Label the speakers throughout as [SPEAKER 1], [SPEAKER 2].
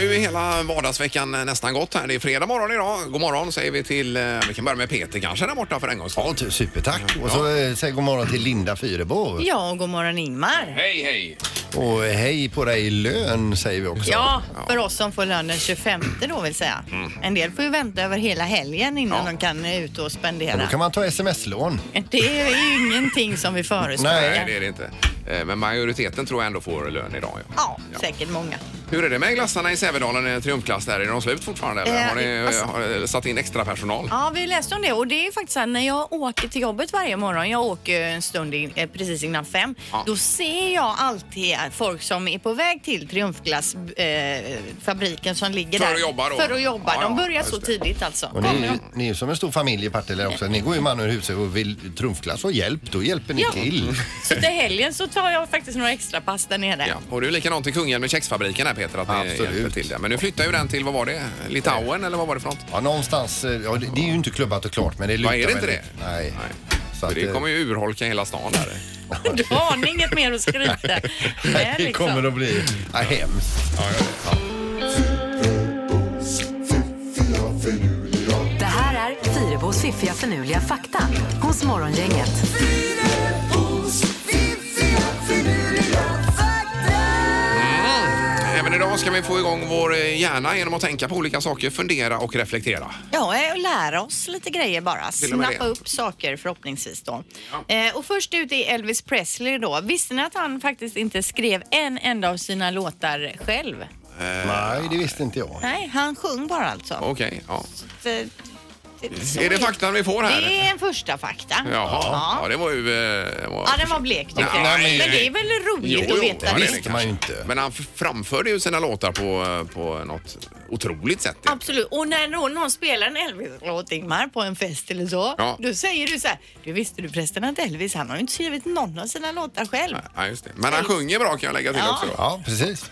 [SPEAKER 1] ju hela vardagsveckan nästan gått här. Det är fredag morgon idag. God morgon säger vi till, eh, vi kan börja med Peter kanske där borta för en gångs
[SPEAKER 2] Ja,
[SPEAKER 1] skull.
[SPEAKER 2] ty- supertack. Och så eh, säg god morgon till Linda Fyrebo.
[SPEAKER 3] Ja, och god morgon Ingmar.
[SPEAKER 1] Hej, hej!
[SPEAKER 2] Och eh, hej på dig lön säger vi också.
[SPEAKER 3] Ja, för oss som får lön den 25 då vill säga. En del får ju vänta över hela helgen innan
[SPEAKER 1] Mm. Ja.
[SPEAKER 3] de kan eh, ut och
[SPEAKER 2] Då
[SPEAKER 3] spendera.
[SPEAKER 2] kan man ta sms-lån.
[SPEAKER 3] Det är ju ingenting som vi
[SPEAKER 1] Nej,
[SPEAKER 3] förespråkar.
[SPEAKER 1] det är det inte. Eh, Men majoriteten tror jag ändå får lön idag. Ja.
[SPEAKER 3] Ja, säkert många.
[SPEAKER 1] Hur är det med glassarna i Sävedalen, eh, triumfglass där? Är de slut fortfarande eller
[SPEAKER 3] Eh,
[SPEAKER 1] har ni eh,
[SPEAKER 3] alltså-
[SPEAKER 1] har, eh, satt in extra personal?
[SPEAKER 3] Ja, vi läste om det och det är faktiskt så här, när jag åker till jobbet varje morgon, jag åker en stund in, eh, precis innan fem,
[SPEAKER 1] Ja.
[SPEAKER 3] då ser jag alltid att folk som är på väg till Triumfglassfabriken eh, fabriken som ligger
[SPEAKER 1] För
[SPEAKER 3] där.
[SPEAKER 1] att jobba då?
[SPEAKER 3] För att jobba.
[SPEAKER 1] Ja,
[SPEAKER 3] de
[SPEAKER 1] ja,
[SPEAKER 3] börjar
[SPEAKER 1] just
[SPEAKER 3] så
[SPEAKER 1] det.
[SPEAKER 3] tidigt alltså.
[SPEAKER 2] Och ni, är ju- ni är ju som en stor familj i Partille också. Ni går ju man ur huset och vill trumfklass och hjälp. Då hjälper ni
[SPEAKER 3] Ja.
[SPEAKER 2] till.
[SPEAKER 3] Så till helgen så tar jag faktiskt några extra pass där nere.
[SPEAKER 1] Ja, och det är likadant i Kungälv med kexfabriken här Peter, att ni
[SPEAKER 2] Absolut.
[SPEAKER 1] hjälper till det. Men nu flyttar ju den till, vad var det? Litauen eller vad var det för något?
[SPEAKER 2] Ja, någonstans. eh, Ja, det det är ju inte klubbat och klart men det lutar
[SPEAKER 1] Ja, är det inte det?
[SPEAKER 2] väldigt- Nej. Så
[SPEAKER 1] Så
[SPEAKER 2] att,
[SPEAKER 1] det
[SPEAKER 2] eh,
[SPEAKER 1] kommer ju urholka hela stan där.
[SPEAKER 3] Då har ni inget mer att skryta med,
[SPEAKER 2] Det
[SPEAKER 3] liksom.
[SPEAKER 2] kommer att bli ja, hemskt.
[SPEAKER 4] Det här är Fyrabos fiffiga förnuliga fakta hos Morgongänget.
[SPEAKER 1] Mm. Även idag ska vi få igång vår eh, hjärna genom att tänka på olika saker, fundera och reflektera.
[SPEAKER 3] Ja, eh, och lära oss lite grejer bara.
[SPEAKER 1] Till och med
[SPEAKER 3] Snappa
[SPEAKER 1] det.
[SPEAKER 3] upp saker förhoppningsvis då. Eh, och först ut är Elvis Presley då. Visste ni att han faktiskt inte skrev en enda av sina låtar själv?
[SPEAKER 2] Nej, det visste inte jag.
[SPEAKER 3] Nej, han sjöng bara alltså.
[SPEAKER 1] Okej, ja.
[SPEAKER 3] Så, eh, det- så
[SPEAKER 1] Är det faktan vi får här?
[SPEAKER 3] Det är en första fakta.
[SPEAKER 1] Jaha, ja.
[SPEAKER 3] Ja.
[SPEAKER 1] det var ju... eh, Var...
[SPEAKER 3] Ja, den var blek tycker jag.
[SPEAKER 1] Nej, nej,
[SPEAKER 3] Men det
[SPEAKER 1] nej.
[SPEAKER 3] är väl roligt att veta
[SPEAKER 1] ja,
[SPEAKER 3] det.
[SPEAKER 1] är
[SPEAKER 2] Visste man
[SPEAKER 1] kanske.
[SPEAKER 2] ju inte.
[SPEAKER 1] Men han f- framförde ju sina låtar på, eh, på något otroligt sätt.
[SPEAKER 3] Absolut. Och när någon, någon spelar en Elvis-låt, Ingmar, på en fest eller så,
[SPEAKER 1] Ja.
[SPEAKER 3] då säger du så här, du visste du förresten att Elvis, han har ju inte skrivit någon av sina låtar själv.
[SPEAKER 1] Ja, just det. Men han sjunger bra kan jag lägga till
[SPEAKER 3] Ja.
[SPEAKER 1] också. Då.
[SPEAKER 2] Ja, precis.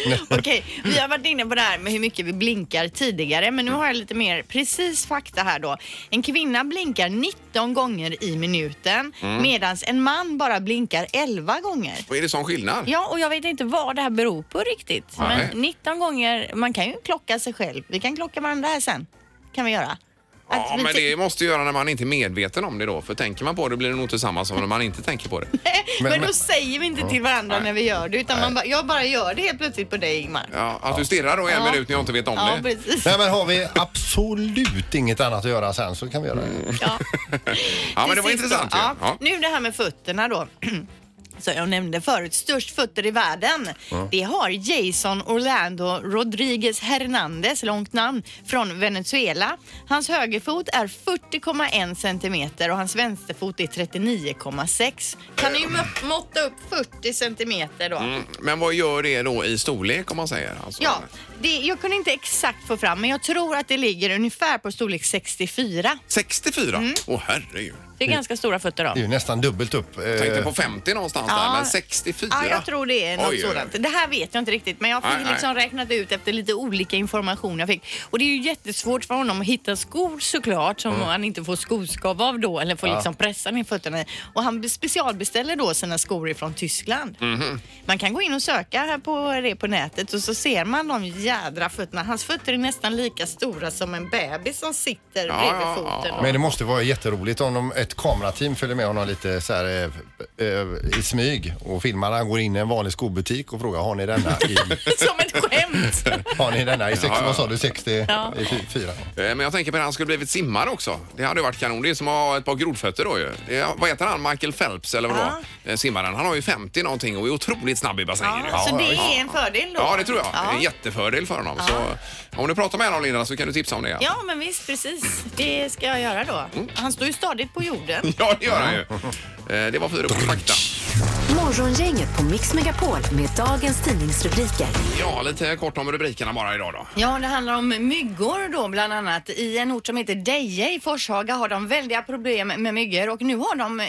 [SPEAKER 3] Okej, vi har varit inne på det här med hur mycket vi blinkar tidigare, men nu har jag lite mer precis fakta här då. En kvinna blinkar 19 gånger i minuten,
[SPEAKER 1] Mm.
[SPEAKER 3] medan en man bara blinkar 11 gånger.
[SPEAKER 1] Och är det sån skillnad?
[SPEAKER 3] Ja, och jag vet inte vad det här beror på riktigt.
[SPEAKER 1] Nej.
[SPEAKER 3] Men 19 gånger, man kan ju klocka sig själv. Vi kan klocka varandra här sen. Kan vi göra.
[SPEAKER 1] Ja,
[SPEAKER 3] Att vi
[SPEAKER 1] men
[SPEAKER 3] ti-
[SPEAKER 1] det måste ju göra när man inte är medveten om det då. För tänker man på det blir det nog inte samma som när man inte tänker på det.
[SPEAKER 3] Men,
[SPEAKER 2] Men-
[SPEAKER 3] då säger vi inte till varandra när vi gör det utan man bara, jag bara gör det helt plötsligt på dig Ingmar.
[SPEAKER 1] Ja, att du stirrar då i en
[SPEAKER 3] Ja.
[SPEAKER 1] minut när jag inte vet om
[SPEAKER 3] Ja,
[SPEAKER 1] det.
[SPEAKER 3] precis.
[SPEAKER 2] Nej, men har vi absolut inget annat att göra sen så kan vi göra det.
[SPEAKER 3] Ja.
[SPEAKER 1] Ja, men
[SPEAKER 3] Till
[SPEAKER 1] det var
[SPEAKER 3] sist
[SPEAKER 1] intressant
[SPEAKER 3] då,
[SPEAKER 1] ju.
[SPEAKER 3] ja.
[SPEAKER 1] Ja.
[SPEAKER 3] Nu det här med fötterna då. Så jag nämnde förut, störst fötter i världen. Det har Jason Orlando Rodriguez Hernandez, långt namn, från Venezuela. Hans högerfot är 40,1 centimeter och hans vänsterfot är 39,6. Kan ni ju må- måtta upp 40 centimeter då?
[SPEAKER 1] Mm, Men vad gör det då i storlek om man säger? Alltså,
[SPEAKER 3] Ja, det, jag kunde inte exakt få fram, men jag tror att det ligger ungefär på storlek 64.
[SPEAKER 1] 64?
[SPEAKER 3] Mm.
[SPEAKER 1] Åh herregud.
[SPEAKER 3] Det är ganska stora fötter då.
[SPEAKER 2] Det är ju nästan dubbelt upp. eh,
[SPEAKER 1] Tänkte på 50 någonstans där,
[SPEAKER 3] Ja.
[SPEAKER 1] men 64?
[SPEAKER 3] Ja, jag tror det är något
[SPEAKER 1] Oj, oj, oj.
[SPEAKER 3] sådant. Det här vet jag inte riktigt, men jag fick
[SPEAKER 1] Nej, nej.
[SPEAKER 3] liksom räknat ut efter lite olika information jag fick. Och det är ju jättesvårt för honom att hitta skor såklart
[SPEAKER 1] Mm.
[SPEAKER 3] som han inte får skoskav av då eller får liksom pressa ner fötterna i. Och han be- specialbeställer då sina skor ifrån Tyskland.
[SPEAKER 1] Mhm.
[SPEAKER 3] Man kan gå in och söka här på det på nätet och så ser man de jädra fötterna. Hans fötter är nästan lika stora som en bebis som sitter
[SPEAKER 1] Ja,
[SPEAKER 3] bredvid
[SPEAKER 1] ja, ja,
[SPEAKER 3] foten.
[SPEAKER 1] ja.
[SPEAKER 2] Men det måste vara jätteroligt om de, ett kamerateam följer med honom lite så här, eh, eh, i smyg och filmar. Han går in i en vanlig skobutik och frågar har ni denna i,
[SPEAKER 3] Som ett skämt!
[SPEAKER 2] har ni denna i sex,
[SPEAKER 1] Ja, ja.
[SPEAKER 2] vad sa du, 60
[SPEAKER 3] Ja.
[SPEAKER 2] i fy- fyra?
[SPEAKER 1] Eh, Men jag tänker på det, han skulle blivit simmare också. Det hade ju varit kanon. Det är som att ha ett par grodfötter då ju. Det är, vad heter han? Michael Phelps eller vad det var? Eh, Simmaren. Han har ju 50 någonting och är otroligt snabb i bassängen. ju.
[SPEAKER 3] Ja, så det är en fördel då?
[SPEAKER 1] Ja, det tror jag. Det är
[SPEAKER 3] Ja.
[SPEAKER 1] en jättefördel för honom. Så om du pratar med honom Linda så kan du tipsa om det.
[SPEAKER 3] Ja, men visst, precis. Det ska jag göra då. Han står ju stadigt på jorden.
[SPEAKER 1] Ja, det gör han ju. Eh, Det var fyra på fakta.
[SPEAKER 4] Morgongänget på Mix Megapol med dagens tidningsrubriker.
[SPEAKER 1] Ja, lite kort om rubrikerna bara idag då.
[SPEAKER 3] Ja, det handlar om myggor då bland annat. I en ort som heter Deje i Forshaga har de väldiga problem med myggor och nu har de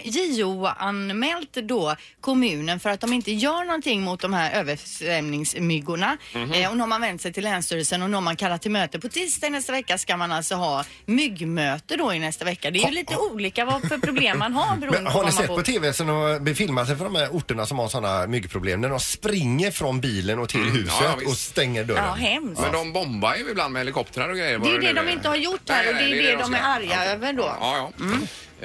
[SPEAKER 3] JO-anmält då kommunen för att de inte gör någonting mot de här översvämningsmyggorna.
[SPEAKER 2] Mhm.
[SPEAKER 3] eh, och nu har man vänt sig till Länsstyrelsen och nu har man kallat till möte. På tisdag nästa vecka ska man alltså ha myggmöte då i nästa vecka. Det är ju lite olika vad för problem man har beroende
[SPEAKER 2] Men
[SPEAKER 3] på
[SPEAKER 2] har
[SPEAKER 3] var man
[SPEAKER 2] ni sett
[SPEAKER 3] bor.
[SPEAKER 2] på tv sen de befilmar sig för de här orterna som har sådana myggproblem när de springer från bilen och till huset
[SPEAKER 1] Mm, ja, visst.
[SPEAKER 2] och stänger dörren.
[SPEAKER 3] Ja, hemskt.
[SPEAKER 1] Men de bombar ju ibland med helikoptrar och grejer.
[SPEAKER 3] Det är det de inte har gjort här och det är det de är arga över då. Mm.
[SPEAKER 1] Ja, ja.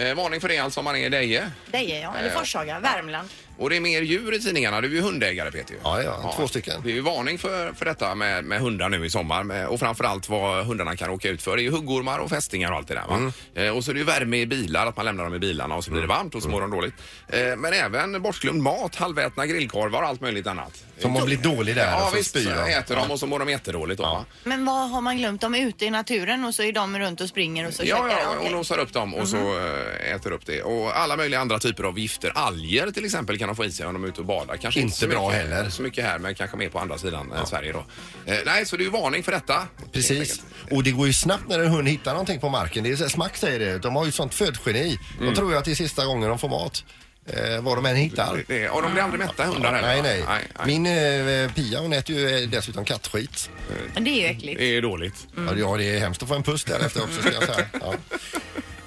[SPEAKER 1] Eh, varning för det alltså om man är i Deje.
[SPEAKER 3] Deje, ja.
[SPEAKER 1] Eh.
[SPEAKER 3] Eller Forshaga, Värmland.
[SPEAKER 1] Och det är mer djur i tidningarna. Du är ju hundägare Peter. ju.
[SPEAKER 2] Ja, ja, två stycken.
[SPEAKER 1] Det är ju varning för, för detta med, med hundar nu i sommar med, och framförallt vad hundarna kan råka ut för. Det är ju huggormar och fästingar och allt det där. Va?
[SPEAKER 2] Mm.
[SPEAKER 1] Eh, och så är det ju värme i bilar, att man lämnar dem i bilarna och så blir det varmt och så mår de
[SPEAKER 2] Mm.
[SPEAKER 1] dåligt. Eh, men även bortglömd mat, halvätna grillkorvar och allt möjligt annat.
[SPEAKER 2] Som har blivit dålig där
[SPEAKER 1] Ja
[SPEAKER 2] och så
[SPEAKER 1] visst,
[SPEAKER 2] spyr de.
[SPEAKER 1] äter de och så mår de jättedåligt. Då, va?
[SPEAKER 3] Men vad har man glömt? De är ute i naturen och så är de runt och springer och så
[SPEAKER 1] Ja,
[SPEAKER 3] käkar de.
[SPEAKER 1] ja, och
[SPEAKER 3] Okej.
[SPEAKER 1] låsar upp dem och så eh, äter upp det. Och alla möjliga andra typer av gifter. Alger till exempel kan de få i sig om de är ute och badar. Kanske inte,
[SPEAKER 2] Inte
[SPEAKER 1] så
[SPEAKER 2] bra
[SPEAKER 1] mycket,
[SPEAKER 2] heller.
[SPEAKER 1] så mycket här, men kanske mer på andra sidan eh, Sverige då. Eh, nej, så det är ju varning för detta. helt
[SPEAKER 2] Precis.
[SPEAKER 1] enkelt.
[SPEAKER 2] Och det går ju snabbt när en hund hittar någonting på marken. Det är så här, smack säger det. De har ju sånt födgeni. De
[SPEAKER 1] Mm.
[SPEAKER 2] tror ju att det är sista gången de får mat. Eh, vad de än hittar.
[SPEAKER 1] Det är- Och de blir aldrig mätta hundar heller.
[SPEAKER 2] Nej,
[SPEAKER 1] va?
[SPEAKER 2] nej.
[SPEAKER 1] nej,
[SPEAKER 2] Min
[SPEAKER 1] nej.
[SPEAKER 2] eh, Pia hon äter ju eh, dessutom kattskit.
[SPEAKER 3] Men det är ju äckligt.
[SPEAKER 1] Det är dåligt.
[SPEAKER 2] Ja, det är hemskt att få en puss därefter också ska jag säga. Ja.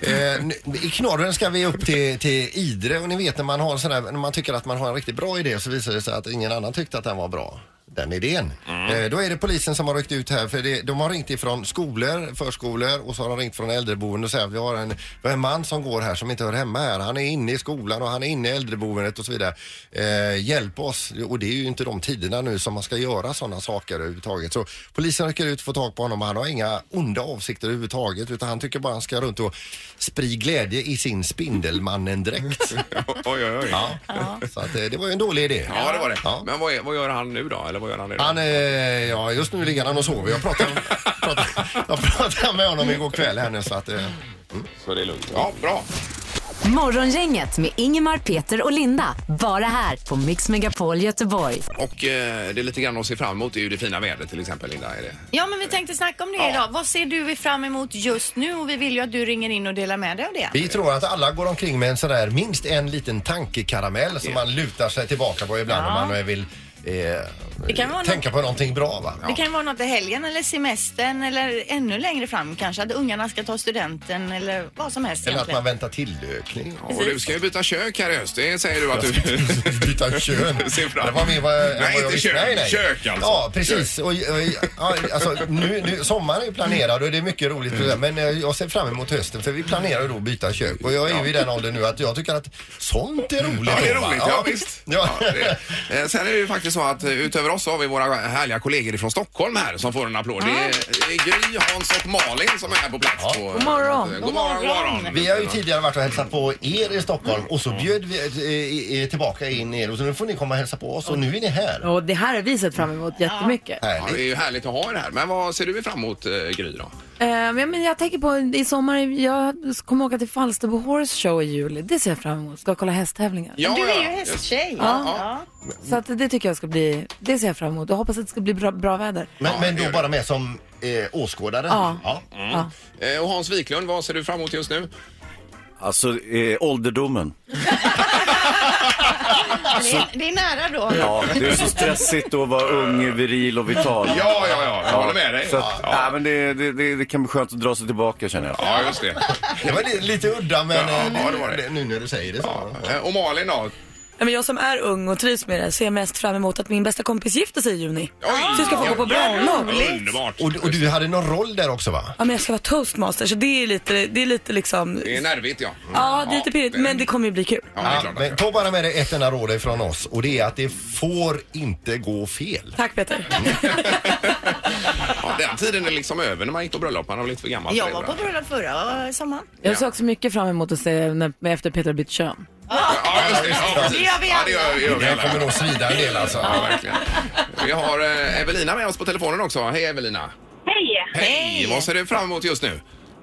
[SPEAKER 2] Eh, nu- I knorren ska vi upp till, till Idre och ni vet när man, har sån här, när man tycker att man har en riktigt bra idé så visar det sig att ingen annan tyckte att den var bra. Den idén. Eh, då är det polisen som har ryckt ut här för det, de har ringt ifrån skolor, förskolor och så har de ringt från äldreboenden och säger att vi har en, vi har en man som går här som inte hör hemma här. Han är inne i skolan och han är inne i äldreboendet och så vidare. Eh, hjälp oss. Och det är ju inte de tiderna nu som man ska göra sådana saker överhuvudtaget. Så polisen rycker ut, får tag på honom och han har inga onda avsikter överhuvudtaget utan han tycker bara han ska runt och sprida glädje i sin Spindelmannen-dräkt.
[SPEAKER 1] oj, oj, oj. Ja.
[SPEAKER 2] ja. Så att, eh, det var ju en dålig idé.
[SPEAKER 1] det var det.
[SPEAKER 2] Ja.
[SPEAKER 1] Men vad, är, vad gör han nu då? Eller vad gör han nu? då?
[SPEAKER 2] Han, eh, ja, just nu ligger han och sover. Jag pratade, pratade, jag pratade med honom igår kväll här nu så att eh,
[SPEAKER 1] Så det är lugnt. Ja, bra.
[SPEAKER 4] Morgongänget med Ingemar, Peter och Linda. Bara här på Mix Megapol Göteborg.
[SPEAKER 1] Och eh, det är lite grann att se fram emot. Det är ju det fina vädret till exempel, Linda. Är det?
[SPEAKER 3] Ja, men vi
[SPEAKER 1] Eh.
[SPEAKER 3] tänkte snacka om det idag. Vad ser du fram emot just nu? Och vi vill ju att du ringer in och delar med dig av det.
[SPEAKER 2] Vi tror att alla går omkring med en sån där minst en liten tankekaramell som man lutar sig tillbaka på ibland om man vill eh,
[SPEAKER 3] kan vara
[SPEAKER 2] tänka på någonting bra. Va?
[SPEAKER 3] Det kan vara något i helgen eller semestern eller ännu längre fram kanske. Att ungarna ska ta studenten eller vad som helst
[SPEAKER 2] Eller att man
[SPEAKER 3] egentligen.
[SPEAKER 2] väntar tillökning.
[SPEAKER 1] Ja, Och du ska ju byta kök här i höst. Det säger du att du...
[SPEAKER 2] Byta kön.
[SPEAKER 1] Se fram.
[SPEAKER 2] Det var mer vad,
[SPEAKER 1] Nej,
[SPEAKER 2] vad jag
[SPEAKER 1] inte
[SPEAKER 2] visste.
[SPEAKER 1] kök. Kök alltså.
[SPEAKER 2] Ja, precis. Och, eh, ja, alltså, nu, nu, sommaren är ju planerad och det är mycket roligt.
[SPEAKER 1] Mm.
[SPEAKER 2] för det. Men eh, jag ser fram emot hösten för vi planerar ju då att byta kök. Och jag är ju i den åldern nu att jag tycker att sånt är roligt.
[SPEAKER 1] Ja, det är
[SPEAKER 2] va?
[SPEAKER 1] roligt. Ja, visst.
[SPEAKER 2] Ja.
[SPEAKER 1] Ja, det- eh, Sen är det ju faktiskt så att eh, utöver oss så har vi våra härliga kollegor från Stockholm här som får en applåd. Det är, det är Gry, Hans och Malin som är här på plats. På, Eh,
[SPEAKER 4] God morgon.
[SPEAKER 1] God morgon, god morgon.
[SPEAKER 2] Vi har ju tidigare varit och hälsat på er i Stockholm och så bjöd vi eh, eh, tillbaka in er och så nu får ni komma och hälsa på oss och nu är ni här.
[SPEAKER 5] Och det här har vi sett fram emot jättemycket.
[SPEAKER 1] Ja, det är
[SPEAKER 2] Härligt.
[SPEAKER 1] ju härligt att ha er här. Men vad ser du fram emot, eh, Gry? Då?
[SPEAKER 5] Eh, men- men jag tänker på i sommar, jag kommer åka till Falsterbo Horse Show i juli. Det ser jag fram emot. Ska kolla hästtävlingar.
[SPEAKER 1] Ja,
[SPEAKER 3] Du är ju
[SPEAKER 1] ja, just-
[SPEAKER 3] hästtjej.
[SPEAKER 1] Ja,
[SPEAKER 5] Så att det tycker jag ska bli, det ser jag fram emot. Jag hoppas att det ska bli bra, bra väder.
[SPEAKER 1] Ja,
[SPEAKER 2] Men, men
[SPEAKER 1] det gör
[SPEAKER 2] då bara med som eh, åskådare.
[SPEAKER 5] Ja.
[SPEAKER 1] Mm. Eh, Och Hans Wiklund, vad ser du fram emot just nu?
[SPEAKER 6] Alltså, eh, ålderdomen.
[SPEAKER 3] Det, är,
[SPEAKER 1] Alltså-
[SPEAKER 3] det är nära då.
[SPEAKER 6] Ja, det är så stressigt att vara ung, viril och vital.
[SPEAKER 1] Ja, ja, ja. Jag håller med dig.
[SPEAKER 6] Så att, nej, men det, det, det, det kan bli skönt att dra sig tillbaka känner jag.
[SPEAKER 1] Ja, just det.
[SPEAKER 2] Det var li- lite udda men
[SPEAKER 1] Ja,
[SPEAKER 2] eh,
[SPEAKER 1] ja, det var det.
[SPEAKER 2] nu när du säger det så.
[SPEAKER 1] Eh, Och Malin då?
[SPEAKER 7] Nej, men jag som är ung och trivs med det ser mest fram emot att min bästa kompis gifter sig i juni.
[SPEAKER 1] Oj,
[SPEAKER 7] Så jag ska få
[SPEAKER 1] ja,
[SPEAKER 7] gå på
[SPEAKER 1] ja,
[SPEAKER 7] bröllop.
[SPEAKER 1] Underbart.
[SPEAKER 2] Och, och du hade någon roll där också va?
[SPEAKER 7] Ja, men jag ska vara toastmaster så det är lite, det är lite liksom...
[SPEAKER 1] Det är nervigt, ja. Mm.
[SPEAKER 7] Ja, det är lite pirrigt men det kommer ju bli kul.
[SPEAKER 1] Ja, det är klart.
[SPEAKER 2] men ta bara med dig ett enda råd ifrån oss och det är att det får inte gå fel.
[SPEAKER 7] Tack Peter.
[SPEAKER 1] Ja, den tiden är liksom över när man gick på bröllop. Man var lite för gammal. för
[SPEAKER 3] Jag
[SPEAKER 1] det,
[SPEAKER 3] var
[SPEAKER 1] va?
[SPEAKER 3] på bröllop förra eh, sommaren.
[SPEAKER 5] Jag ser också mycket fram emot att se när, efter Peter har bytt kön.
[SPEAKER 1] Ja, just det. Ja, precis.
[SPEAKER 3] Det gör vi
[SPEAKER 1] Ja, det gör, det gör vi
[SPEAKER 2] Det kommer
[SPEAKER 1] alla.
[SPEAKER 2] nog svida en del alltså.
[SPEAKER 1] Ja, verkligen. Vi har eh, Evelina med oss på telefonen också. Hej Evelina!
[SPEAKER 8] Hej!
[SPEAKER 1] Hej! Vad ser du fram emot just nu?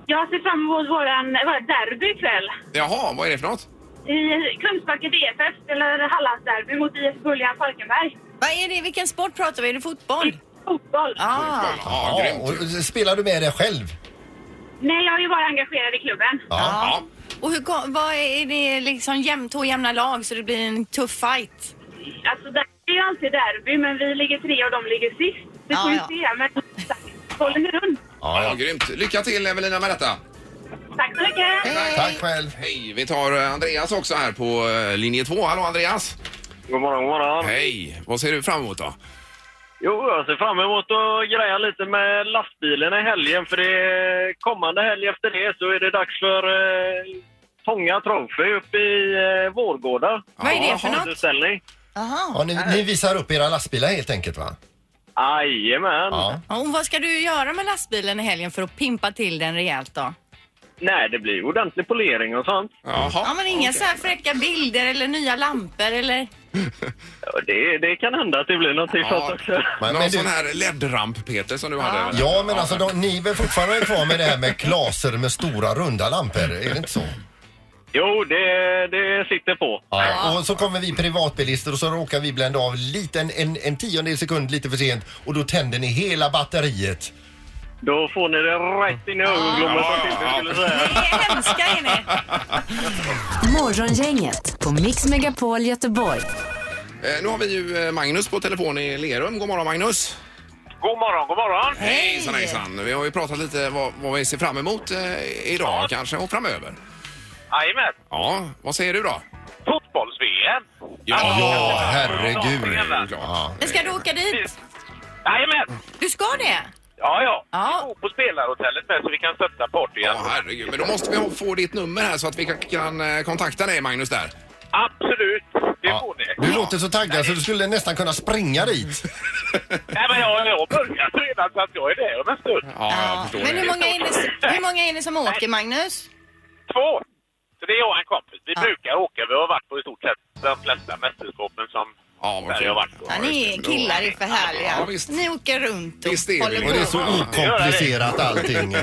[SPEAKER 8] Jag ser fram emot våran vårt derby ikväll.
[SPEAKER 1] Jaha, vad är det för något?
[SPEAKER 8] I Kungsbacka DFF eller Hallandsderby mot IF Gulljan Falkenberg.
[SPEAKER 3] Vad är det? Vilken sport pratar vi? Är det fotboll?
[SPEAKER 8] Fotboll.
[SPEAKER 3] Ah.
[SPEAKER 1] Ja,
[SPEAKER 2] Ja,
[SPEAKER 1] grymt.
[SPEAKER 2] och spelar du med dig själv?
[SPEAKER 8] Nej, jag är ju bara engagerad i klubben.
[SPEAKER 2] Ja.
[SPEAKER 1] Ja.
[SPEAKER 3] Och hur, kom- vad är är det liksom jämnt och jämna lag så det blir en tuff fight?
[SPEAKER 8] Alltså, det är ju alltid derby, men vi ligger tre och de ligger sist. Det får
[SPEAKER 3] Ja,
[SPEAKER 8] vi
[SPEAKER 3] ja.
[SPEAKER 8] se, men håller ni runt?
[SPEAKER 1] Ja, grymt. Lycka till Evelina med detta.
[SPEAKER 8] Tack så mycket!
[SPEAKER 2] Tack själv.
[SPEAKER 1] Hej, vi tar eh, Andreas också här på eh, linje 2. Hallå Andreas!
[SPEAKER 9] God morgon, god morgon.
[SPEAKER 1] Hej! Vad ser du fram emot då?
[SPEAKER 9] Jo, jag ser fram emot att greja lite med lastbilen i helgen för det är kommande helg efter det så är det dags för eh, Tånga Trophy uppe i eh, Vårgårda.
[SPEAKER 3] Vad är det för
[SPEAKER 1] Jaha.
[SPEAKER 3] något?
[SPEAKER 9] Utställning.
[SPEAKER 3] Jaha.
[SPEAKER 2] Ja, ni, ni visar upp era lastbilar helt enkelt va?
[SPEAKER 9] Jajamän!
[SPEAKER 2] Ja.
[SPEAKER 3] Ja, och vad ska du göra med lastbilen i helgen för att pimpa till den rejält då?
[SPEAKER 9] Nej, det blir ordentlig polering och sånt.
[SPEAKER 1] Jaha.
[SPEAKER 2] Mm.
[SPEAKER 3] Ja, men inga så här fräcka bilder eller nya lampor eller?
[SPEAKER 9] Ja, Det, det kan hända att det blir någonting
[SPEAKER 1] Ja.
[SPEAKER 9] sånt också.
[SPEAKER 2] Men-
[SPEAKER 1] Någon
[SPEAKER 2] men du-
[SPEAKER 1] sån här LED-ramp Peter som du hade? eller?
[SPEAKER 2] Ja, men alltså de, ni är väl fortfarande kvar med det här med glaser med stora runda lampor? Är det inte så?
[SPEAKER 9] Jo, det, det sitter på.
[SPEAKER 2] Ja. Och så kommer vi privatbilister och så råkar vi blända av lite, en, en, en tiondel sekund lite för sent och då tänder ni hela batteriet.
[SPEAKER 9] Då får ni det rätt in i ögonblommet
[SPEAKER 1] Ja,
[SPEAKER 9] som Pippi
[SPEAKER 1] ja,
[SPEAKER 9] skulle
[SPEAKER 1] ja.
[SPEAKER 9] säga.
[SPEAKER 3] Ni är hemska är ni.
[SPEAKER 4] Morgongänget på Mix Megapol Göteborg.
[SPEAKER 1] Eh, nu har vi ju eh, Magnus på telefon i Lerum. God morgon Magnus!
[SPEAKER 9] God morgon, god morgon!
[SPEAKER 1] Hej! Hejsan hejsan! Vi har ju pratat lite vad, vad vi ser fram emot eh, idag kanske och framöver.
[SPEAKER 9] Jajamän!
[SPEAKER 1] Ja, vad säger du då?
[SPEAKER 9] Fotbolls-VM!
[SPEAKER 1] Ja,
[SPEAKER 2] Ja, herregud.
[SPEAKER 1] det är klart.
[SPEAKER 3] Men ska du åka dit?
[SPEAKER 9] Jajamän!
[SPEAKER 3] Du ska det?
[SPEAKER 9] Ja, ja.
[SPEAKER 3] Ja.
[SPEAKER 9] Vi bor på spelarhotellet med så vi kan stötta partyen.
[SPEAKER 1] Ja, herregud. Men då måste vi ha- få ditt nummer här så att vi kan, kan eh, kontakta dig Magnus där.
[SPEAKER 9] Absolut, det
[SPEAKER 2] Ja.
[SPEAKER 9] får ni.
[SPEAKER 2] Du låter så taggad så du skulle nästan kunna springa dit.
[SPEAKER 9] Nej, men jag, jag har börjat redan så att jag är där om en stund.
[SPEAKER 1] Ja, jag förstår
[SPEAKER 3] Men
[SPEAKER 1] det.
[SPEAKER 3] hur många, är ni, hur många är ni som åker Magnus?
[SPEAKER 9] Två! Så det är jag och en kompis. Vi brukar åka. Vi har varit på i stort sett de flesta mästerskapen som
[SPEAKER 1] Ja, vad
[SPEAKER 9] Sverige har varit på.
[SPEAKER 3] Ja, ni är killar är för
[SPEAKER 1] Ja,
[SPEAKER 3] härliga.
[SPEAKER 1] visst.
[SPEAKER 3] Ni åker runt och
[SPEAKER 1] Visst är vi.
[SPEAKER 3] håller
[SPEAKER 1] Och
[SPEAKER 2] Det är
[SPEAKER 3] på.
[SPEAKER 2] så okomplicerat allting.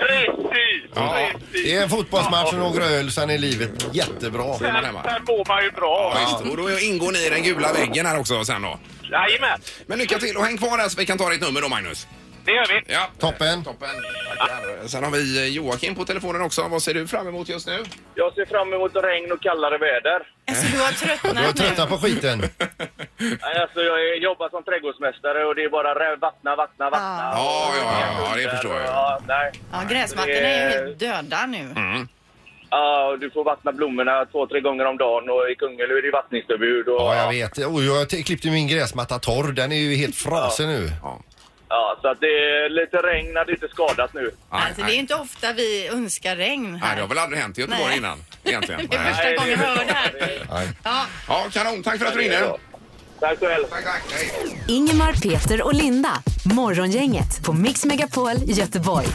[SPEAKER 9] Precis!
[SPEAKER 1] Ja.
[SPEAKER 2] Det är en fotbollsmatch och några öl, sen är livet jättebra.
[SPEAKER 1] är man hemma.
[SPEAKER 9] Sen, sen mår man ju bra.
[SPEAKER 1] Ja, visst. Och då ingår ni i den gula väggen här också sen då.
[SPEAKER 9] Jajamän,
[SPEAKER 1] Men lycka till och häng kvar här så vi kan ta ditt nummer då Magnus.
[SPEAKER 9] det gör vi.
[SPEAKER 1] Ja.
[SPEAKER 2] Toppen.
[SPEAKER 1] Toppen. Tackar. Sen har vi eh, Joakim på telefonen också. Vad ser du fram emot just nu?
[SPEAKER 9] Jag ser fram emot regn och kallare väder.
[SPEAKER 3] Alltså, du har
[SPEAKER 2] Du har
[SPEAKER 3] tröttnat nu.
[SPEAKER 2] tröttnat på skiten.
[SPEAKER 9] Alltså, jag jobbar som trädgårdsmästare och det är bara vattna, vattna, vattna.
[SPEAKER 1] Ja, ja, ja, ja, det förstår jag.
[SPEAKER 9] Ja, nej.
[SPEAKER 3] Ja, gräsmattorna är ju helt döda nu.
[SPEAKER 9] Ja, du får vattna blommorna två, tre gånger om dagen och i Kungälv är det vattningsförbud. Och,
[SPEAKER 2] Ja, jag vet. Oh, jag t- klippte min gräsmatta torr. Den är ju helt frasig nu.
[SPEAKER 1] Ja.
[SPEAKER 9] Ja, så att det är lite regn hade inte skadat nu.
[SPEAKER 3] Alltså, det är inte ofta vi önskar regn
[SPEAKER 1] Nej, det
[SPEAKER 3] här.
[SPEAKER 1] har väl aldrig hänt i Göteborg
[SPEAKER 3] Nej.
[SPEAKER 1] innan egentligen.
[SPEAKER 3] Det är
[SPEAKER 1] Nej.
[SPEAKER 3] första gången jag hör det här.
[SPEAKER 2] Nej.
[SPEAKER 3] Ja,
[SPEAKER 1] Ja, kanon. Tack för att du ringde.
[SPEAKER 9] Tack själv.
[SPEAKER 1] Tack, tack. Hej.
[SPEAKER 4] Ingemar, Peter och Linda. Morgongänget på Mix Megapol Göteborg.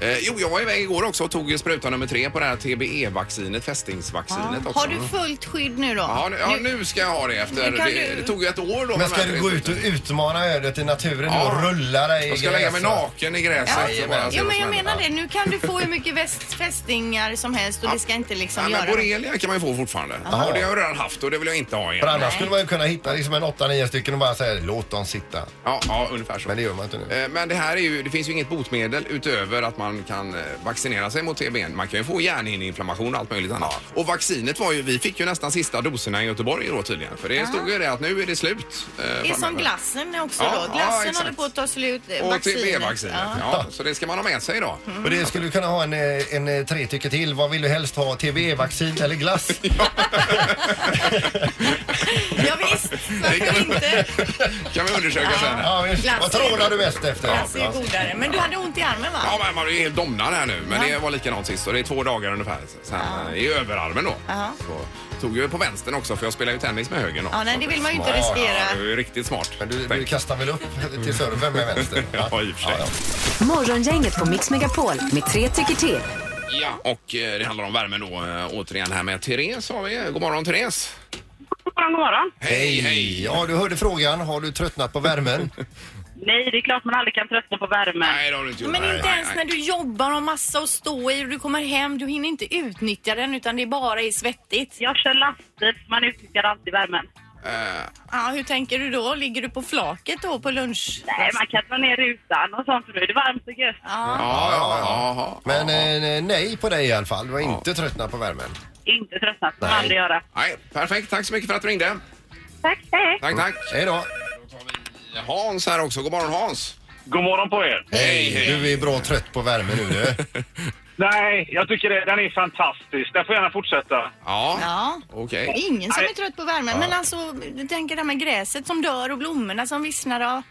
[SPEAKER 1] Eh, jo, jag var iväg igår också och tog spruta nummer tre på det här TBE-vaccinet, fästingsvaccinet också.
[SPEAKER 3] har du fullt skydd nu då?
[SPEAKER 1] Ja, nu, ja, nu ska jag ha det efter.
[SPEAKER 3] Nu kan
[SPEAKER 1] Det,
[SPEAKER 3] du-
[SPEAKER 1] det tog ju ett år då.
[SPEAKER 2] Men
[SPEAKER 1] med
[SPEAKER 2] ska
[SPEAKER 1] de här
[SPEAKER 2] du gå
[SPEAKER 1] tre
[SPEAKER 2] ut och
[SPEAKER 1] sprutorna.
[SPEAKER 2] utmana ödet i naturen nu och
[SPEAKER 1] Ja.
[SPEAKER 2] rulla dig i
[SPEAKER 1] Jag ska lägga mig
[SPEAKER 2] gräset?
[SPEAKER 1] naken i gräset.
[SPEAKER 3] Ja.
[SPEAKER 1] så bara se
[SPEAKER 3] Jo,
[SPEAKER 1] vad
[SPEAKER 3] men
[SPEAKER 1] som
[SPEAKER 3] jag
[SPEAKER 1] händer.
[SPEAKER 3] menar det. Nu kan du få hur mycket väst, fästingar som helst och det ska inte liksom
[SPEAKER 1] Nej, men
[SPEAKER 3] göra...
[SPEAKER 1] borrelia kan man ju få fortfarande.
[SPEAKER 2] Jaha.
[SPEAKER 1] Och det har jag redan haft och det vill jag inte ha igen.
[SPEAKER 2] För annars skulle man ju kunna hitta liksom en 8-9 stycken och bara säga låt dem sitta.
[SPEAKER 1] Ja, ja ungefär så.
[SPEAKER 2] Men det gör man inte nu.
[SPEAKER 1] Eh, Men det här är ju, det finns ju inget botemedel utöver att man kan eh, vaccinera sig mot TBN. Man kan ju få hjärnhinneinflammation och allt möjligt annat. Och vaccinet var ju, vi fick ju nästan sista doserna i Göteborg då tydligen. För det stod ju det att nu är det slut. eh,
[SPEAKER 3] Det är som
[SPEAKER 1] framöver.
[SPEAKER 3] glassen också
[SPEAKER 1] Ja, ja,
[SPEAKER 3] då. Glassen
[SPEAKER 1] exakt.
[SPEAKER 3] håller på att ta slut. eh,
[SPEAKER 1] Och
[SPEAKER 3] vaccinet.
[SPEAKER 1] TB-vaccinet.
[SPEAKER 3] Ja.
[SPEAKER 1] Ja, så det ska man ha med sig idag.
[SPEAKER 2] Och det skulle du kunna ha en, eh, en eh, tre tycker till. Vad vill du helst ha? TBE-vaccin eller glass?
[SPEAKER 3] Ja, visst, varför inte?
[SPEAKER 1] kan vi undersöka sen.
[SPEAKER 2] Ja, visst.
[SPEAKER 3] Glass.
[SPEAKER 2] Vad trålar du bäst efter?
[SPEAKER 3] Glass Alltså, är ju godare. Men du hade ont i armen va?
[SPEAKER 1] Ja, men man är ju helt domnad här nu. Men det var likadant sist och det är två dagar ungefär sen eh, i överarmen då.
[SPEAKER 3] Ja.
[SPEAKER 1] Så tog jag på vänstern också för jag spelar ju tennis med högern då.
[SPEAKER 3] Ja, nej, det vill man ju inte
[SPEAKER 2] Ja, ja,
[SPEAKER 1] Ja, det är
[SPEAKER 3] riskera.
[SPEAKER 1] ju riktigt smart.
[SPEAKER 2] Men du, du kastar väl upp till servern med vänster?
[SPEAKER 1] Ja, i och för sig.
[SPEAKER 4] Morgongänget på Mix Megapol med tre tycker till.
[SPEAKER 1] Ja, och eh, det handlar om värmen då. eh, Återigen här med Therese har vi. God morgon Therese!
[SPEAKER 8] God morgon, god morgon.
[SPEAKER 1] Hej, hej!
[SPEAKER 2] Ja, du hörde frågan. Har du tröttnat på värmen?
[SPEAKER 8] Nej, det är klart man aldrig kan tröttna på värmen.
[SPEAKER 1] Nej, det har du inte gjort.
[SPEAKER 3] Men
[SPEAKER 1] Nej,
[SPEAKER 3] inte
[SPEAKER 1] nej,
[SPEAKER 3] ens när
[SPEAKER 1] nej.
[SPEAKER 3] du jobbar och massa att stå i och du kommer hem, du hinner inte utnyttja den utan det bara är svettigt.
[SPEAKER 8] Jag kör lastbil, man utnyttjar alltid värmen.
[SPEAKER 1] Eh,
[SPEAKER 3] Ja, hur tänker du då? Ligger du på flaket då på lunch?
[SPEAKER 8] Nej, man kan dra ner rutan och sånt för nu är det varmt och gött.
[SPEAKER 1] Ja,
[SPEAKER 3] Ja.
[SPEAKER 1] ja, ja.
[SPEAKER 2] Men
[SPEAKER 1] ja.
[SPEAKER 2] eh, nej på dig i alla fall. Du har inte tröttnat på värmen.
[SPEAKER 8] Inte tröttnat, man
[SPEAKER 2] Nej.
[SPEAKER 8] aldrig göra.
[SPEAKER 1] Nej, perfekt. Tack så mycket för att du ringde.
[SPEAKER 8] Tack, hej.
[SPEAKER 1] Tack, tack.
[SPEAKER 2] Hej då.
[SPEAKER 1] Hans här också. God morgon Hans!
[SPEAKER 9] God morgon på er.
[SPEAKER 1] Hej, hej.
[SPEAKER 2] Du är bra trött på värme nu du.
[SPEAKER 9] Nej, jag tycker det, den är fantastisk. Den får gärna fortsätta.
[SPEAKER 1] Ja,
[SPEAKER 3] Ja.
[SPEAKER 1] okej.
[SPEAKER 3] Det är ingen som
[SPEAKER 9] Nej.
[SPEAKER 3] är trött på värmen. Men alltså, du tänker det här med gräset som dör och blommorna som vissnar. Ja.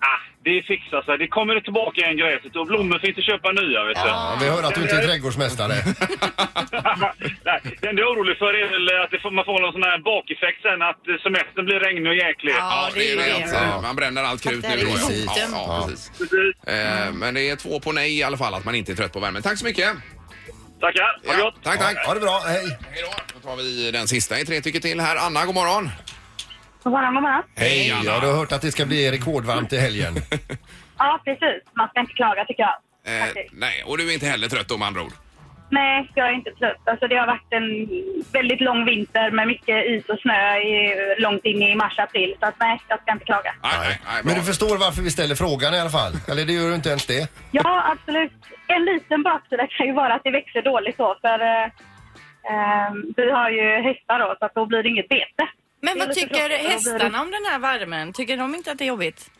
[SPEAKER 9] Ah, det fixar sig. Det kommer tillbaka igen gräset och blommor får inte köpa nya. Vet du.
[SPEAKER 2] Ja, vi hör att du inte är trädgårdsmästare.
[SPEAKER 9] Nej, det enda jag är orolig för är väl att det får, man får någon sån här bakeffekt sen att eh, semestern blir regnig och jäklig.
[SPEAKER 1] Ja, det är
[SPEAKER 3] det.
[SPEAKER 1] det. Att, eh, Man bränner allt krut
[SPEAKER 3] Fattar
[SPEAKER 1] nu då.
[SPEAKER 3] det.
[SPEAKER 1] ja. Ja,
[SPEAKER 3] Precis.
[SPEAKER 1] ja, precis.
[SPEAKER 9] Precis.
[SPEAKER 1] Eh, Men det är två på nej i alla fall, att man inte är trött på värmen. Tack så mycket!
[SPEAKER 9] Tackar. Ha det
[SPEAKER 1] Ja,
[SPEAKER 9] gott.
[SPEAKER 1] tack, tack!
[SPEAKER 2] Ha det bra, hej.
[SPEAKER 1] Hej då! Då tar vi den sista i Tre tycker till här. Anna, god morgon!
[SPEAKER 8] God morgon, god morgon.
[SPEAKER 1] Hej
[SPEAKER 2] Ja, du har hört att det ska bli rekordvarmt i helgen.
[SPEAKER 8] Ja, precis. Man ska inte klaga tycker jag.
[SPEAKER 1] Eh,
[SPEAKER 8] Faktiskt.
[SPEAKER 1] nej, och du är inte heller trött om andra ord?
[SPEAKER 8] Nej, jag är inte trött. Alltså, det har varit en väldigt lång vinter med mycket is och snö i, långt in i mars-april. Så att, nej, jag ska inte klaga.
[SPEAKER 1] Nej, nej, nej, bra.
[SPEAKER 2] Men du förstår varför vi ställer frågan i alla fall? Eller det gör du inte ens det?
[SPEAKER 8] Ja, absolut. En liten baksida kan ju vara att det växer dåligt då. För eh, eh, vi har ju hästar då, så att då blir det inget bete.
[SPEAKER 3] Men
[SPEAKER 8] Det är
[SPEAKER 3] vad
[SPEAKER 8] lite
[SPEAKER 3] tycker
[SPEAKER 8] tråkigt.
[SPEAKER 3] hästarna om den här värmen? Tycker de inte att det är jobbigt?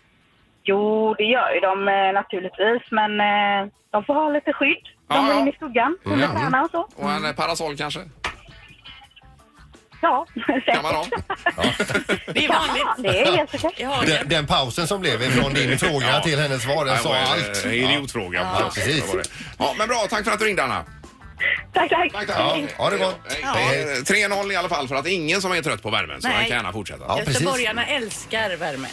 [SPEAKER 8] Jo, det gör ju de eh, naturligtvis, men eh, de får ha lite skydd. De
[SPEAKER 1] Ja,
[SPEAKER 8] går
[SPEAKER 1] ja.
[SPEAKER 8] in i skuggan, under
[SPEAKER 1] Ja.
[SPEAKER 8] stjärnan och så.
[SPEAKER 1] Och en eh, parasoll kanske?
[SPEAKER 8] Ja,
[SPEAKER 1] Kan man ha?
[SPEAKER 3] Det är
[SPEAKER 8] Ja,
[SPEAKER 3] vanligt.
[SPEAKER 8] det är helt okej.
[SPEAKER 3] Ja, det.
[SPEAKER 2] Den, den pausen som blev från din fråga till hennes svar, den sa allt.
[SPEAKER 1] eh, Idiotfråga.
[SPEAKER 2] Ja, precis.
[SPEAKER 1] Ja, men bra. Tack för att du ringde, Anna.
[SPEAKER 8] Tack, tack.
[SPEAKER 1] Tack, tack.
[SPEAKER 2] Ja, ha det gott.
[SPEAKER 1] Hej.
[SPEAKER 2] Ja.
[SPEAKER 1] Hej. 3-0 i alla fall för att ingen som är trött på värmen, så
[SPEAKER 3] Nej.
[SPEAKER 1] man kan gärna fortsätta.
[SPEAKER 2] Ja, precis.
[SPEAKER 3] Göteborgarna älskar värme.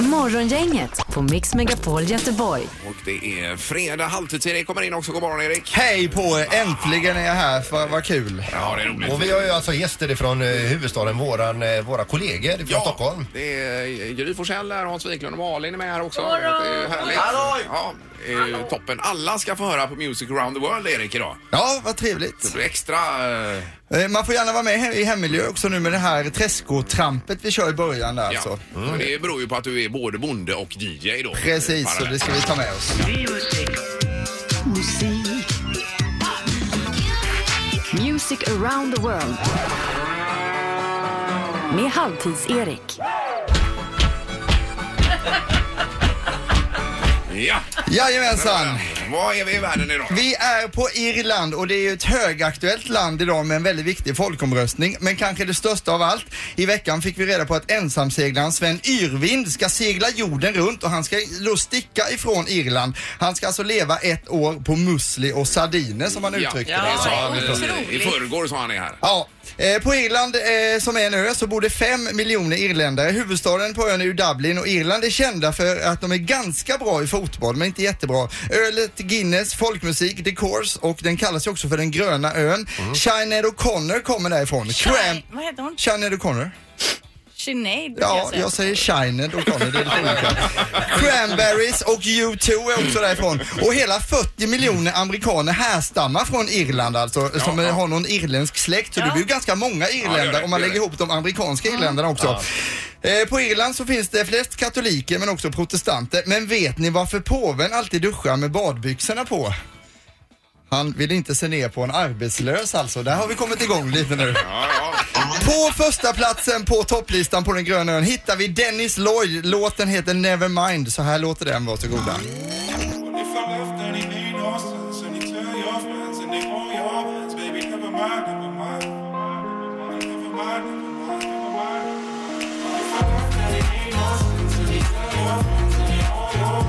[SPEAKER 4] Morgongänget på Mix Megapol Göteborg.
[SPEAKER 1] Och det är fredag, halvtids-Erik kommer in också. God morgon, Erik.
[SPEAKER 10] Hej på er! Äntligen är jag här, vad vad kul.
[SPEAKER 1] Ja, det är roligt.
[SPEAKER 2] Och vi har ju alltså gäster ifrån eh, huvudstaden, våran, eh, våra kollegor från
[SPEAKER 1] Ja,
[SPEAKER 2] Stockholm.
[SPEAKER 1] det är Gry Forssell här, Hans Wiklund och Malin är med här också. Det är ju härligt. Hallå! Ja, det är ju toppen. Alla ska få höra på Music around the world, Erik, idag.
[SPEAKER 10] Ja, vad trevligt.
[SPEAKER 1] Det blir extra... eh,
[SPEAKER 10] Eh, Man får gärna vara med he- i hemmiljö också nu med det här träskotrampet vi kör i början där alltså.
[SPEAKER 1] Ja. Mm. Men Det beror ju på att du är både bonde och DJ då.
[SPEAKER 10] Precis, så det ska vi ta med oss.
[SPEAKER 4] Music around the world. Med Halvtids-Erik.
[SPEAKER 1] Ja!
[SPEAKER 10] Jajamensan!
[SPEAKER 1] Var är vi i världen idag?
[SPEAKER 10] Vi är på Irland och det är ju ett högaktuellt land idag med en väldigt viktig folkomröstning. Men kanske det största av allt. I veckan fick vi reda på att ensamseglaren Sven Yrvind ska segla jorden runt och han ska då sticka ifrån Irland. Han ska alltså leva ett år på musli och sardiner som han uttryckte
[SPEAKER 3] Ja.
[SPEAKER 10] det.
[SPEAKER 1] det sa han, eh,
[SPEAKER 3] otroligt.
[SPEAKER 1] I förrgår sa han är här.
[SPEAKER 10] Ja, eh, på Irland eh, som är en ö så bor det 5 miljoner irländare. Huvudstaden på ön är ju Dublin och Irland är kända för att de är ganska bra i fotboll men inte jättebra. Ölet Guinness, folkmusik, The Course och den kallas ju också för den gröna ön. Sinéad O'Connor kommer därifrån. Cramp...
[SPEAKER 3] Shine- Vad heter hon?
[SPEAKER 10] Sinéad O'Connor?
[SPEAKER 3] Sinead? brukar
[SPEAKER 10] Ja, jag säger Shinehead och Connor, det är lite olika. Cranberries och U2 är också därifrån. Och hela 40 miljoner amerikaner härstammar från Irland alltså, som
[SPEAKER 1] Ja, ja.
[SPEAKER 10] har någon irländsk släkt. Så det blir ju ganska många irländare
[SPEAKER 1] det,
[SPEAKER 10] om man
[SPEAKER 1] det
[SPEAKER 10] lägger
[SPEAKER 1] det.
[SPEAKER 10] ihop de amerikanska irländarna också. Eh, På Irland så finns det flest katoliker men också protestanter. Men vet ni varför påven alltid duschar med badbyxorna på? Han vill inte se ner på en arbetslös alltså. Där har vi kommit igång lite nu.
[SPEAKER 1] Ja, ja.
[SPEAKER 10] På första platsen på topplistan på den gröna ön hittar vi Dennis Lloyd. Låten heter Nevermind. Så här låter den, varsågoda.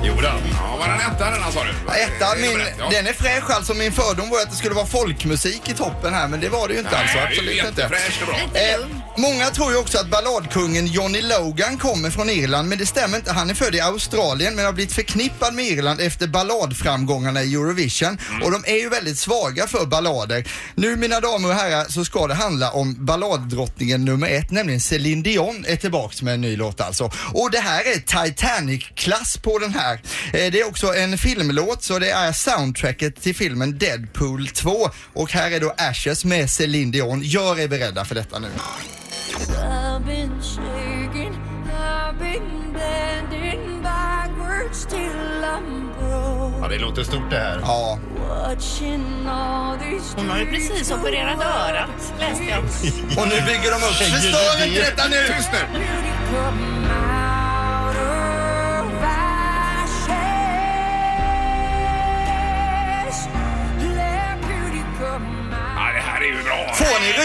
[SPEAKER 1] Jodå. Ja, var den etta den här, sa du?
[SPEAKER 10] Etta,
[SPEAKER 1] Det är
[SPEAKER 10] min,
[SPEAKER 1] nummer ett, ja.
[SPEAKER 10] den är fräsch alltså. Min fördom var att det skulle vara folkmusik i toppen här, men det var det ju inte
[SPEAKER 1] Nej,
[SPEAKER 10] alltså.
[SPEAKER 1] det är ju
[SPEAKER 10] Absolut inte.
[SPEAKER 1] jättefräscht och bra.
[SPEAKER 10] Eh, många tror ju också att balladkungen Johnny Logan kommer från Irland, men det stämmer inte. Han är född i Australien men har blivit förknippad med Irland efter balladframgångarna i Eurovision. Och de är ju väldigt svaga för ballader. Nu mina damer och herrar så ska det handla om balladdrottningen nummer ett, nämligen Céline Dion är tillbaks med en ny låt alltså. Och det här är Titanic-klass på den här. Eh, det är också en filmlåt så det är soundtracket till filmen Deadpool 2. Och här är då Ashes med Céline Dion. Gör er beredda för detta nu.
[SPEAKER 2] Ja, det låter stort det här.
[SPEAKER 10] Ja,
[SPEAKER 3] Hon har ju precis opererat örat, läste jag.
[SPEAKER 10] och nu bygger de upp. Förstör inte detta nu!
[SPEAKER 1] Tyst nu!
[SPEAKER 8] Come out of ashes.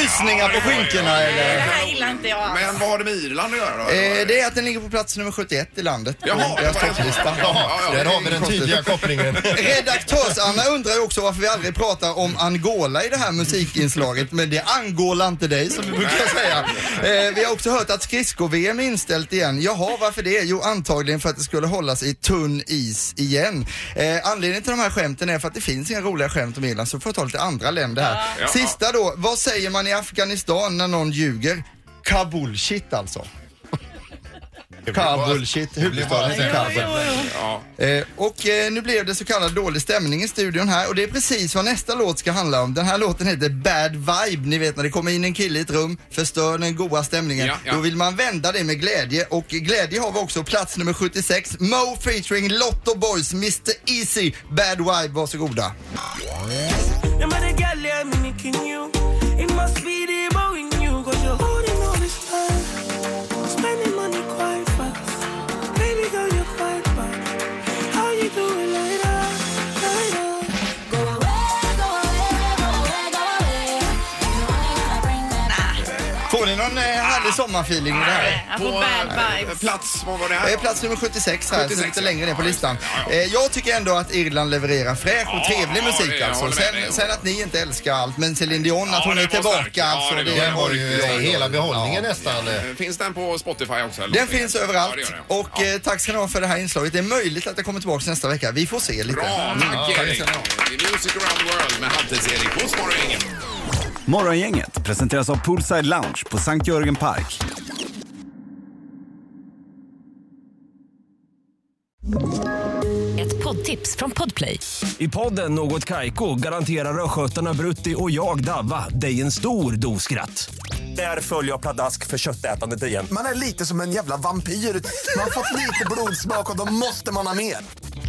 [SPEAKER 10] rysningar på skinkorna
[SPEAKER 2] Eh.
[SPEAKER 3] Det
[SPEAKER 10] eller?
[SPEAKER 3] här gillar inte jag alls.
[SPEAKER 1] Men vad har det med Irland att göra då?
[SPEAKER 10] Eh, det är att den ligger på plats nummer 71 i landet. på
[SPEAKER 1] Jaha,
[SPEAKER 10] deras
[SPEAKER 1] det var det.
[SPEAKER 10] topplista.
[SPEAKER 1] Ja, ja,
[SPEAKER 2] Där har vi den tydliga kopplingen.
[SPEAKER 10] Redaktörs-Anna undrar ju också varför vi aldrig pratar om Angola i det här musikinslaget. Men det är Angola inte dig som vi brukar säga. Eh, vi har också hört att skridsko-VM är inställt igen. Jaha, varför det? Jo, antagligen för att det skulle hållas i tunn is igen. Eh, anledningen till de här skämten är för att det finns inga roliga skämt om Irland så får jag ta lite andra länder här.
[SPEAKER 1] Ja.
[SPEAKER 10] Sista då, vad säger man i Afghanistan när någon ljuger? Kabulshit alltså. Kabulshit, huvudstaden till Kabul.
[SPEAKER 1] Ja.
[SPEAKER 10] Eh, och eh, nu blev det så kallad dålig stämning i studion här och det är precis vad nästa låt ska handla om. Den här låten heter Bad Vibe. Ni vet när det kommer in en kille i ett rum, förstör den goda stämningen.
[SPEAKER 1] Ja, ja.
[SPEAKER 10] Då vill man vända det med glädje och glädje har vi också plats nummer 76. Mo featuring Lotto Boys, Mr Easy, Bad Vibe. Varsågoda. Får ni någon eh, härlig sommarfeeling med det här?
[SPEAKER 3] Jag får bad vibes.
[SPEAKER 1] eh, plats, vad var det
[SPEAKER 10] Det
[SPEAKER 1] här?
[SPEAKER 10] är Eh, plats nummer 76 här,
[SPEAKER 1] 76,
[SPEAKER 10] så lite
[SPEAKER 1] ja.
[SPEAKER 10] längre ner på
[SPEAKER 1] Ja,
[SPEAKER 10] listan.
[SPEAKER 1] just det. Ja,
[SPEAKER 10] Eh, Jag tycker ändå att Irland levererar fräsch och
[SPEAKER 1] Ja,
[SPEAKER 10] trevlig
[SPEAKER 1] ja,
[SPEAKER 10] musik
[SPEAKER 1] det- jag
[SPEAKER 10] alltså.
[SPEAKER 1] håller med dig.
[SPEAKER 10] Sen, sen att ni inte älskar allt, men Céline Dion,
[SPEAKER 1] Ja,
[SPEAKER 10] att hon
[SPEAKER 1] den
[SPEAKER 10] är
[SPEAKER 1] var stark.
[SPEAKER 10] tillbaka
[SPEAKER 1] Ja,
[SPEAKER 10] alltså.
[SPEAKER 1] den
[SPEAKER 10] det
[SPEAKER 1] var-
[SPEAKER 2] Den har
[SPEAKER 10] ju-
[SPEAKER 2] ju hela behållningen nästan. eh.
[SPEAKER 1] Finns den på Spotify också?
[SPEAKER 10] Den
[SPEAKER 1] eller någonting?
[SPEAKER 10] finns
[SPEAKER 1] Ja, det
[SPEAKER 10] överallt.
[SPEAKER 1] gör den.
[SPEAKER 10] Och eh, tack ska ni ha för det här inslaget. Det är möjligt att det kommer tillbaka nästa vecka. Vi får se lite. Mm.
[SPEAKER 1] Bra, tack Erik. Det är Music around the world med Halvtids-Erik hos Morgongänget.
[SPEAKER 11] Morgongänget presenteras av Poolside Lounge på Sankt Jörgen Park.
[SPEAKER 4] Ett poddtips från Podplay.
[SPEAKER 12] I podden Något Kaiko garanterar östgötarna Brutti och jag, Davva, dig en stor dos skratt. Där följer jag pladask för köttätandet igen.
[SPEAKER 13] Man är lite som en jävla vampyr. Man har fått lite blodsmak och då måste man ha mer.